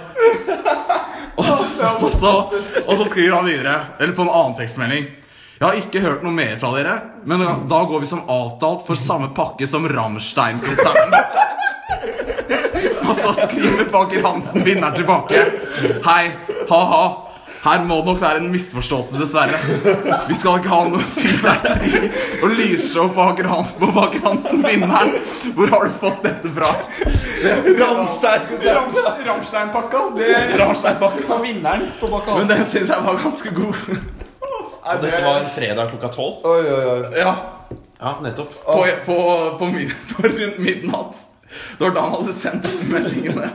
C: Og så, og så, og så skriver han videre, eller på en annen tekstmelding. Jeg har ikke hørt noe mer fra dere, men da- da går vi som avtalt for samme pakke som Rammstein-konserten. Og så skriver Baker Hansen vinneren tilbake. Hei, ha-ha. Her må det nok være en misforståelse, dessverre. Vi skal ikke ha noe fyrverkeri og lysshow på Baker Hansen, på Baker Hansen vinneren. Hvor har du fått dette fra?
B: Rammstein-pakka. Det Rammstein-pakka vinneren på Bakka
C: Men den syns jeg var ganske god.
F: Og dette var fredag klokka tolv.
G: Oi, oi, oi.
C: Ja,
F: Ja, nettopp.
C: på, på, på, mid, på rundt midnatt. Det var da han hadde sendt disse meldingene.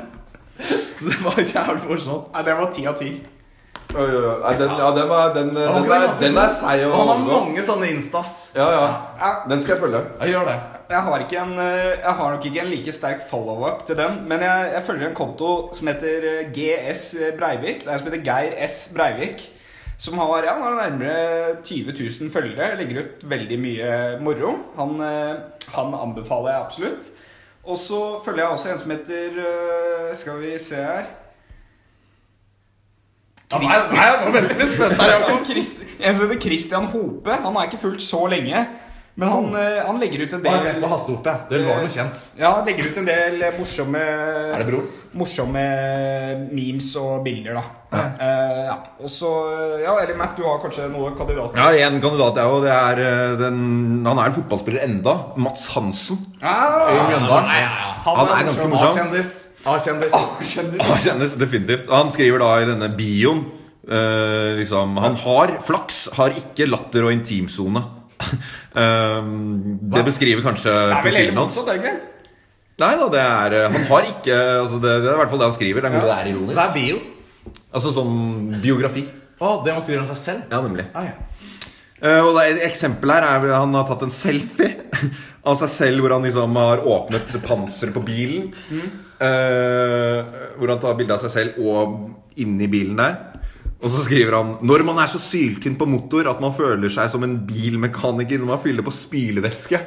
C: Så det var jævlig morsomt.
B: Nei, det var ti av ti.
G: oi, oi. Nei, den, ja, den, var, den, den,
C: Han
G: er,
C: masse-
G: den er seig å
C: Han har
G: overgå.
C: mange sånne instas.
G: Ja, ja. Den skal jeg følge.
C: Ja, gjør det.
B: Jeg har, ikke en, eh, jeg har nok ikke en like sterk follow-up til den, men jeg, jeg følger en konto som heter eh, GS Breivik. Det er en som heter Geir S. Breivik. Som har, ja, han har nærmere 20 000 følgere. Legger ut veldig mye moro. Han, eh, han anbefaler jeg absolutt. Og så følger jeg også en som heter eh, Skal vi se her
C: Ja, nei, nei, nå er jeg veldig spent her, Jakob.
B: Christ, En som heter Christian Hope. Han har jeg ikke fulgt så lenge. Men han, eh, han legger ut en
C: Jeg
B: del
C: vet hva Hasse Hope er. Det var noe kjent.
B: Ja, han legger ut en del morsomme
G: Er det bror?
B: Morsomme memes og bilder, da. Eh, ja. Og så eh, Ja, eller Matt, du har kanskje noen kandidater?
D: Ja, en kandidat jeg òg. Det er eh, den Han er en fotballspiller enda. Mats Hansen.
B: Ah,
D: i Mjøndalen. Han er ganske morsom.
C: A-kjendis. A-kjendis.
D: Han kjennes definitivt. Han skriver da i denne bioen eh, liksom Han har flaks, har ikke latter og intimsone. um, det beskriver kanskje
B: det er vel
D: profilen
B: hele
D: hans.
B: motsatt, er det ikke det?
D: Nei da, det er eh, Han har ikke altså det, det er i hvert fall det han skriver. Det er mulig det er
F: Det
D: ironisk.
F: er bio.
D: Altså sånn biografi.
C: Å, det man skriver om seg selv?
D: Ja, nemlig.
C: Ah, ja.
D: Eh, og det er et eksempel her er vel han har tatt en selfie av seg selv hvor han liksom har åpnet panseret på bilen. Eh, hvor han tar bilde av seg selv og inni bilen der. Og så skriver han Når man er så syltynn på motor at man føler seg som en bilmekaniker når man fyller på spylevæske.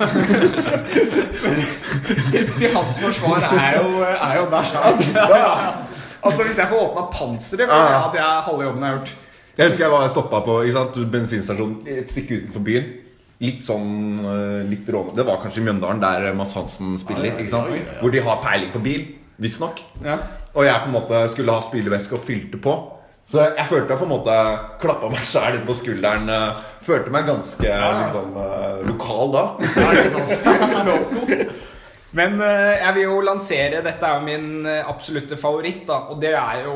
B: Til, til hans forsvar er jo, er jo der sånn. Altså, hvis jeg får åpna panseret, føler jeg at jeg halve jobben er gjort.
D: Jeg husker jeg var stoppa på ikke sant, bensinstasjonen et stykke utenfor byen. Litt sånn eh, litt råne. Det var kanskje i Mjøndalen, der Mads Hansen spiller. Ikke sant? Hvor de har peiling på bil, visstnok.
B: Ja.
D: Og jeg på en måte skulle ha spylevæske og fylte på. Så jeg følte jeg på en måte klappa meg sjæl på skulderen. eh, Følte meg ganske liksom, eh, lokal da.
B: Men eh, jeg vil jo lansere Dette er jo min eh, absolutte favoritt, da. Og det er jo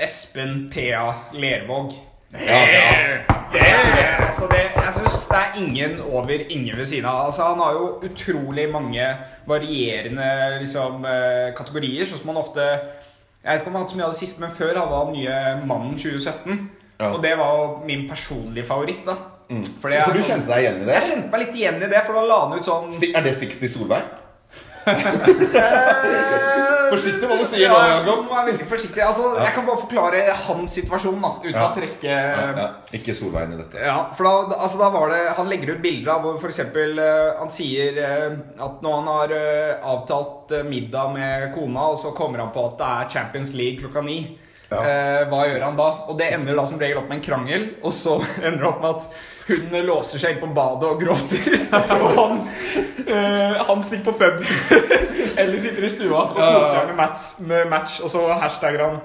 B: Espen P.A. Lervåg. Det er- altså det, jeg syns det er ingen over ingen ved siden av. Altså, han har jo utrolig mange varierende liksom, eh, kategorier, sånn som han ofte Jeg vet ikke om han hadde så mye av det siste, men før hadde han nye Mannen 2017. Og det var jo min personlige favoritt, da. For det
G: Mm. For
B: er
G: du
B: sånn-
G: kjente deg igjen i det?
B: Jeg kjente meg litt igjen i det, for da la han ut sånn
G: Sti- Er det stikk til Solveig? Forsiktig hva du sier nå,
B: Ja, nå
G: Jakob.
B: er jeg veldig forsiktig. Altså, Jeg kan bare forklare hans situasjon, da, uten
G: Ja.
B: å trekke
G: Ja, ikke Solveien i dette.
B: ja, for da, altså, da var det Han legger ut bilder av hvor f.eks. han sier eh, at når han har eh, avtalt eh, middag med kona, og så kommer han på at det er Champions League klokka ni.
G: Ja.
B: Eh, hva gjør han da? Og det ender da som regel opp med en krangel. Og så ender det opp med at hun låser seg inn på badet og gråter. og han, eh, han stikker på pub. Eller sitter i stua og koser seg med match, med match. Og så hashtagger han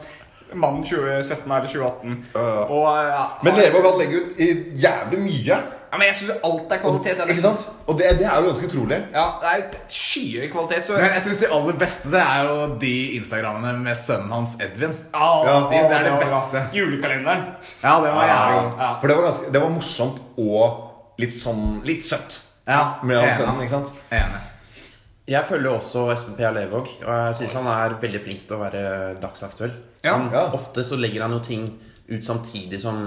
B: mannen 2017 eller 2018.
G: ja.
B: Og, eh, ja,
G: Men
B: han-
G: Lervåg han legger ut i jævlig mye.
B: ja, men jeg syns alt er kvalitet. eller?
G: Ikke sant? Og det, det er jo ganske utrolig.
B: Ja, det er skyhøy kvalitet. Så
C: Men jeg synes de aller beste det er jo de Instagrammene med sønnen hans Edvin.
B: Ah,
C: de- det er det
B: var bra.
C: beste.
B: Julekalenderen.
C: Ja, det var jævlig godt.
B: Ja.
G: For det var, ganske, det var morsomt og litt sånn Litt søtt.
C: Ja,
G: Med han
C: enig,
G: sønnen,
C: ass.
G: ikke sant?
C: Enig.
F: Jeg følger jo også Espen P.A. Lervåg, og jeg synes han er veldig flink til å være dagsaktuell.
B: Ja,
F: han,
G: ja.
F: Ofte så legger han jo ting ut samtidig som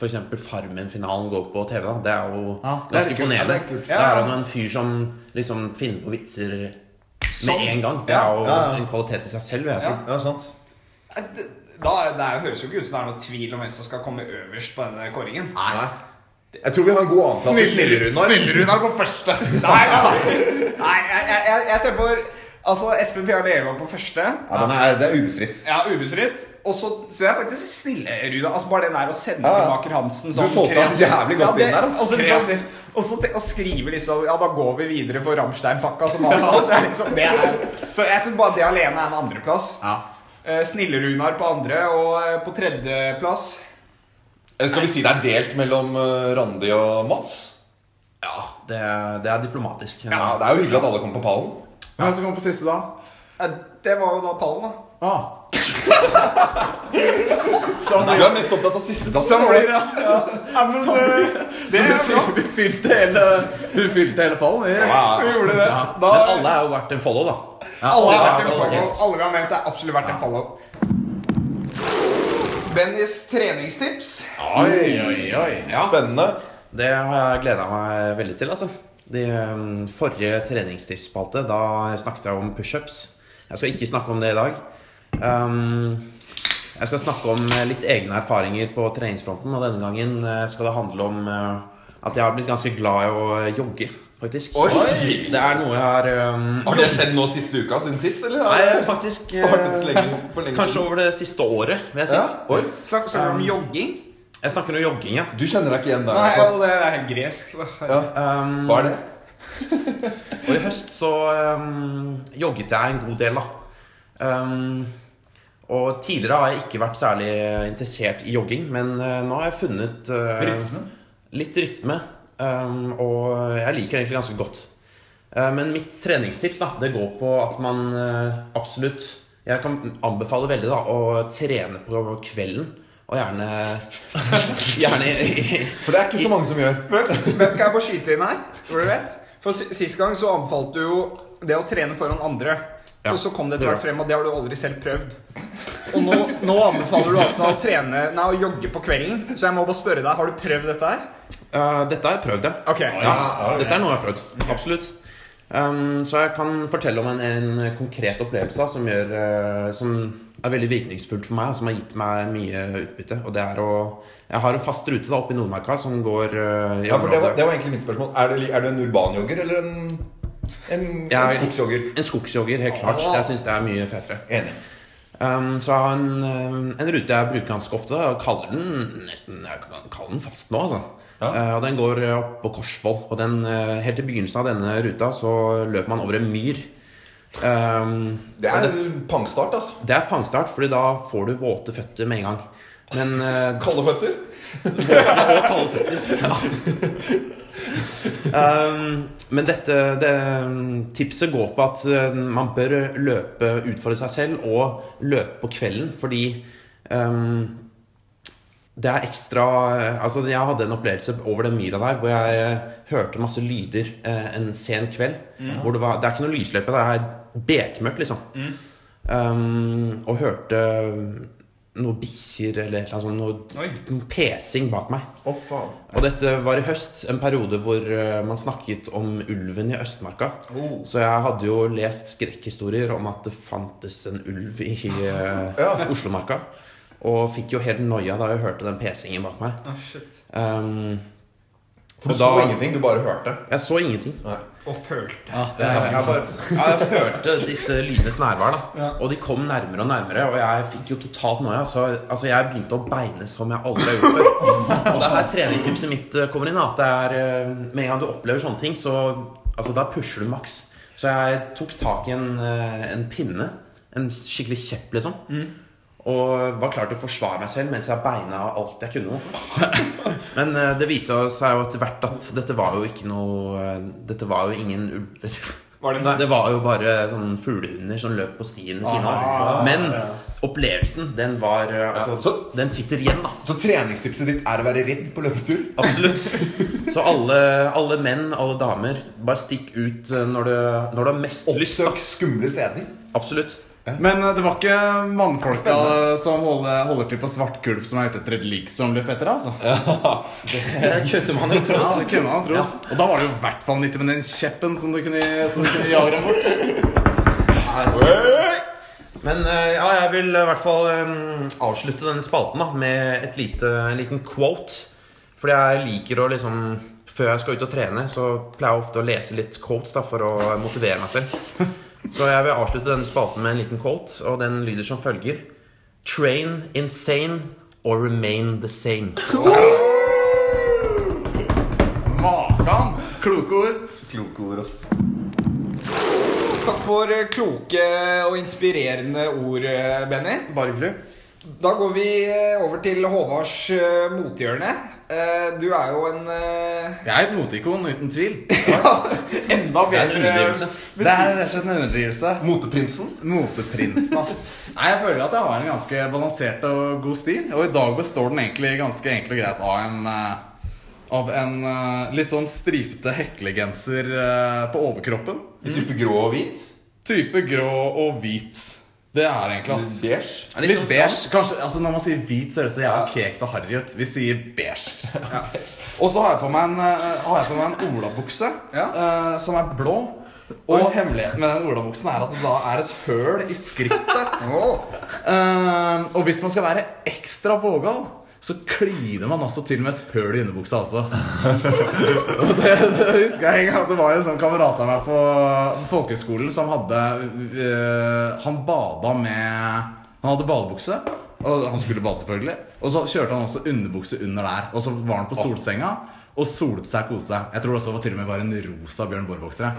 F: f.eks. Farmen-finalen går på TV. da Det er jo
C: Ja, det er
F: ganske
C: kult.
F: imponerende.
G: Det er kult.
F: Da er han jo en fyr som liksom finner på vitser
B: Sånn.
F: med en gang. Det
B: Ja.
F: er jo
D: Ja, ja.
F: en kvalitet i seg selv. vil jeg si.
B: Ja.
D: Ja, sant.
B: Nei, det- Da er- det er- høres jo ikke ut som det er noe tvil om hvem som skal komme øverst på denne kåringen.
C: Nei.
D: Jeg tror vi har en god annenplass i Snillerunar.
C: Snillerunar på første!
B: Nei, nei, nei jeg, jeg, jeg, jeg stemmer for altså, Espen Pia Levold på første.
D: Ja, den er, det er ubestridt.
B: Ja, ubestridt. Og så så jeg faktisk Snillerud. Altså bare den der å sende
D: Ja, ja.
B: til Maker Hansen
D: Du
B: sånn
D: solgte den
B: kreativt.
D: jævlig godt
B: det-
D: inn der, altså.
B: og så liksom-
C: Kreativt.
B: Og så te- å skrive liksom Ja, da går vi videre for Rammstein-pakka som avtalt. Det er liksom, det er, så jeg syns bare det alene er en andreplass.
C: Ja.
B: Eh, Snille-Runar på andre, og eh, på tredjeplass
D: Eh, Skal vi si det er delt mellom eh, Randi og Mats?
F: Ja, det, det er diplomatisk.
D: Ja, Det er jo hyggelig at alle kommer på pallen.
C: Hvem som kom på siste, da?
B: eh, Det var jo da pallen, da.
C: Ah.
D: Du er mest opptatt av sisteplass.
C: blir det! det så vi, fylte hele, vi fylte hele pallen. Vi.
B: Vi gjorde det. Da,
F: Men alle er jo verdt en follow, da.
B: Alle,
F: alle
B: har vært
F: er
B: en
F: verdt en
B: follow. alle vi har nevnt, er absolutt verdt en follow. Bennys treningstips.
C: Oi, oi, oi.
D: Spennende.
F: Det har jeg gleda meg veldig til, altså. De um, forrige treningstipsspalte, da snakket jeg om pushups. Jeg skal ikke snakke om det i dag. Um, jeg skal snakke om eh, litt egne erfaringer på treningsfronten, og denne gangen eh, skal det handle om eh, at jeg har blitt ganske glad i å eh, jogge, faktisk.
D: Oi!
F: Det er noe jeg har um,
D: Har det skjedd nå siste uka siden sist, eller?
F: Nei, faktisk eh,
D: Startet lenge- for lenge
F: Kanskje
D: siden.
F: over det siste året, vil jeg si.
D: Ja, oi.
B: Snakker du om jogging?
F: Jeg snakker om jogging, ja.
D: Du kjenner deg ikke igjen der?
B: Um, Nei,
D: Jakob.
B: det er gresk.
D: Ja.
F: Um,
D: Hva er det?
F: Og i høst så um, jogget jeg en god del, da. Um, og tidligere har jeg ikke vært særlig interessert i jogging, men uh, nå har jeg funnet uh,
C: Rytmen?
F: Litt rytme. Um, og jeg liker det egentlig ganske godt. Uh, men mitt treningstips da, det går på at man uh, absolutt Jeg kan anbefale veldig da, å trene på kvelden. Og gjerne Gjerne i- i-
D: For det er ikke så mange som gjør.
B: Men, men kan jeg bare skyte inn her? Hvor du vet? For si- Sist gang så anbefalte du jo det å trene foran andre.
F: Ja.
B: Og så kom det etter hvert frem, og det har du aldri selv prøvd. Og nå, nå anbefaler du altså å trene Nei, å jogge på kvelden. Så jeg må bare spørre deg, har du prøvd dette her?
F: Uh, dette har jeg prøvd, ja.
B: Ok.
F: Ja, dette er noe jeg har prøvd. Absolutt. Um, så jeg kan fortelle om en, en konkret opplevelse da, som, gjør, eh, som er veldig virkningsfullt for meg, og som har gitt meg mye utbytte. Og det er å Jeg har en fast rute da oppe i Nordmarka som går eh, i
D: Ja, for det var,
F: området.
D: det var egentlig mitt spørsmål. Er du, er du en urbanjogger eller en, en, en
F: Jeg er-
D: skogsjogger?
F: En skogsjogger, helt klart.
D: Ah.
F: Jeg syns det er mye fetere.
D: Enig.
F: Um, så jeg har en, um, en rute jeg bruker ganske ofte, og kaller den nesten Jeg kan kalle den fast nå, altså.
D: Ja.
F: Eh, og den går eh, opp på Korsvoll. Og den, eh, helt i begynnelsen av denne ruta så løper man over en myr. Um,
D: Det er en pangstart, altså.
F: det er pangstart, fordi da får du våte føtter med en gang. Men eh,
D: Kalde føtter.
F: og kalde føtter. Ja. um, men dette det, um, tipset går på at eh, man bør løpe, utfordre seg selv og løpe på kvelden, fordi um, det er ekstra Altså, jeg hadde en opplevelse over den myra der hvor jeg eh, hørte masse lyder eh, en sen kveld. Hvor det, var, det er ikke noe lysløype, det er bekmørkt, liksom. Um, og hørte um, noen bikkjer eller et eller annet sånt. Noe, noe pesing bak meg.
D: Å, faen.
F: Og dette var i høst, en periode hvor eh, man snakket om ulven i Østmarka. Så jeg hadde jo lest skrekkhistorier om at det fantes en ulv i eh, Oslomarka. Og fikk jo helt noia da jeg hørte den pesingen bak meg.
B: Å, shit.
F: Um,
D: For du
F: Da-
D: så ingenting, du bare hørte.
F: jeg så ingenting.
B: Og følte.
F: Jeg, bare, ja, jeg følte disse lydenes nærvær, da. Og de kom nærmere og nærmere, og jeg fikk jo totalt noia. Så altså, jeg begynte å beine som jeg aldri har gjort før. Og det er her treningstipset mitt eh, kommer inn. da, At det er eh, Med en gang du opplever sånne ting, så altså, da pusher du maks. Så jeg tok tak i en, eh, en pinne. En skikkelig kjepp, liksom. Og var klar til å forsvare meg selv mens jeg beina alt jeg kunne. Men eh, det viser seg jo etter hvert at dette var jo ikke noe eh, Dette var jo ingen ulver.
B: Var det
F: Det var jo bare sånne fuglehunder som løp på stien ved siden
B: Ah,
F: av. Men opplevelsen, den var eh, altså,
D: Så-
F: Den sitter igjen, da.
D: Så treningstipset ditt er å være redd på løpetur?
F: Absolutt. Så alle, alle menn, alle damer, bare stikk ut eh, når du, når du har mest lyst.
D: Oppsøk skumle steder.
F: da. Absolutt.
C: Men eh, det var ikke mannfolka som holder, holder til på svart gulv som er ute etter et ligg som løp etter deg, altså.
F: Kutter man jo
C: Ja,
F: tråd.
C: det kunne han tro. Og da var det jo i hvert fall nyttig med den kjeppen som du kunne, som du kunne jage dem bort.
F: er sikkert. Men eh, ja, jeg vil i hvert fall eh, avslutte denne spalten da, med et lite, en liten quote. Fordi jeg liker å liksom Før jeg skal ut og trene, så pleier jeg ofte å lese litt quotes da, for å motivere meg selv. Så jeg vil avslutte denne spalten med en liten quote, og den lyder som følger. Train insane or remain the same.
C: Makan! Kloke ord.
D: Kloke ord, ass.
B: Takk for eh, kloke og inspirerende ord, eh, Benny.
F: Bare hyggelig.
B: Da går vi eh, over til Håvards eh, mothjørne. Eh, Du er jo en eh,
C: Jeg er et moteikon, uten tvil.
B: ja, enda
F: Det er en
B: bedre
F: underdrivelse.
C: Det er rett og slett en underdrivelse. Moteprinsen? Moteprinsen, ass. Nei, Jeg føler at jeg har en ganske balansert og god stil. Og i dag består den egentlig ganske enkelt og greit av en eh, Av en eh, litt sånn stripete heklegenser eh, på overkroppen.
D: I type grå og hvit.
C: Type grå og hvit. Det er egentlig, ass.
D: Litt beige.
F: Er det
C: Litt
F: sånn
C: beige,
F: fransk?
C: kanskje, altså Når man sier hvit, så høres det jævla kekt og harry ut. Vi sier beige. Og så har jeg på meg en, eh, har jeg på meg en olabukse eh, som er blå. Og hemmeligheten med den olabuksen er at det da er et høl i skrittet. Eh, og hvis man skal være ekstra vågal, så kliner man også til med et høl i underbuksa også. Og det, det husker jeg en gang at det var en sånn kamerat av meg på folkeskolen som hadde øh, Han bada med Han hadde badebukse. Og han skulle bade, selvfølgelig. Og så kjørte han også underbukse under der. Og så var han på solsenga og solte seg og koste seg. Jeg tror det også var til og med var en rosa Bjørn Borg-boksere.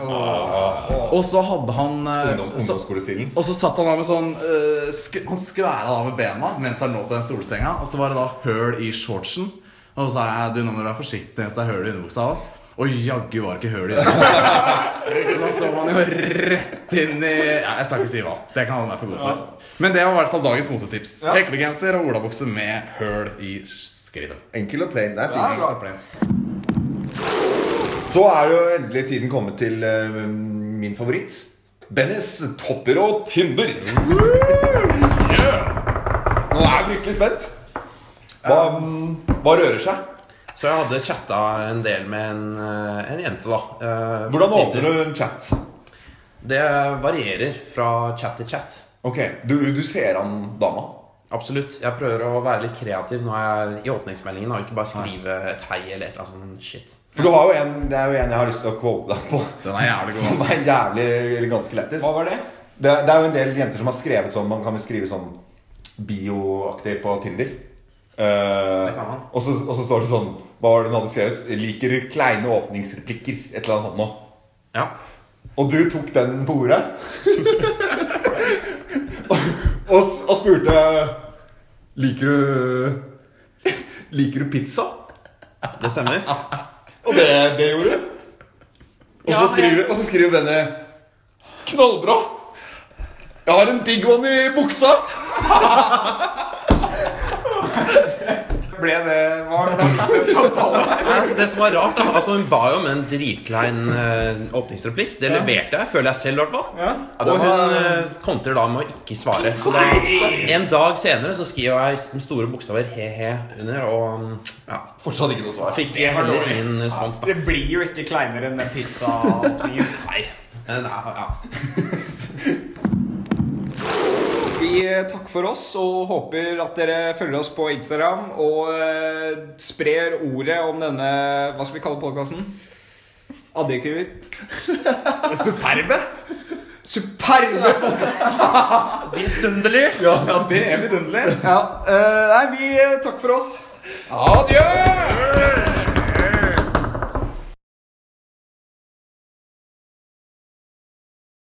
C: Og så hadde han øh,
D: Ungdom,
C: så-
D: ungdomsskolestilen.
C: og så satt han da med sånn eh, sk Han skværa da med bena mens han lå på den solsenga. Og så var det da høl i shortsen. Og så sa jeg du nå må du være forsiktig hvis det er høl i underbuksa òg. Og jaggu var det ikke høl i underbuksa. så da så man jo rett inn i ja, Jeg skal ikke si hva. Det kan han være for god for. Men det var i hvert fall dagens motetips. Heklegenser og olabukse med høl i skrittet.
D: Enkel og plain. Det er fint.
C: Klar, Plen.
D: Så er jo endelig tiden kommet til eh, min favoritt. Bennys topper og Tinder. Nå er jeg virkelig spent. Hva, hva rører seg?
F: Så jeg hadde chatta en del med en, eh, en jente, da. eh,
D: Hvordan
F: på Tinder.
D: åpner du en chat?
F: Det varierer fra chat til chat.
D: Ok, Du, du ser an dama.
F: Absolutt. Jeg prøver å være litt kreativ når jeg, i åpningsmeldingen. Og ikke bare skrive et hei eller et eller annet sånn shit.
D: For du har jo en, det er jo en jeg har lyst til å quote deg på.
C: Den er jævlig god.
D: Som
C: ass.
D: er jævlig eller ganske lættis.
B: Hva var det?
D: Det, det er jo en del jenter som har skrevet sånn Man kan jo skrive sånn bioaktig på Tinder. Eh,
F: Det kan man.
D: og, så, og så står det sånn Hva var det hun hadde skrevet? 'Liker kleine åpningsreplikker'. Et eller annet sånt noe.
F: Ja.
D: Og du tok den på ordet. og, og, s- og spurte Liker du Liker du pizza?
F: Det stemmer.
D: Og det, det gjorde du. Og så
F: Ja, jeg-
D: skriver, og så skriver Benny Knallbra! Jeg har en digg one i buksa!
B: Ble det Hva var det?
F: Nei, altså, det som var rart, da Altså Hun ba jo om en dritklein eh, åpningsreplikk. Det leverte jeg, føler jeg selv, i hvert fall.
D: Ja, det
F: Og
D: var-
F: hun eh, kontrer da med å ikke svare. Så det er, en dag senere så skriver jeg med store bokstaver he-he under, og mm, ja,
D: Fortsatt ikke noe svar.
F: fikk heller ingen respons. da
B: Det blir jo ikke kleinere enn den pizzaåpningen.
F: Nei. Eh, nei, ja.
B: Vi eh, takker for oss og håper at dere følger oss på Instagram og eh, sprer ordet om denne Hva skal vi kalle podkasten? Adjektiver. Superbe! Superbe
F: Vidunderlig!
C: Ja, det er vidunderlig.
B: Ja, eh, nei, vi eh, takker for oss.
C: Adjø!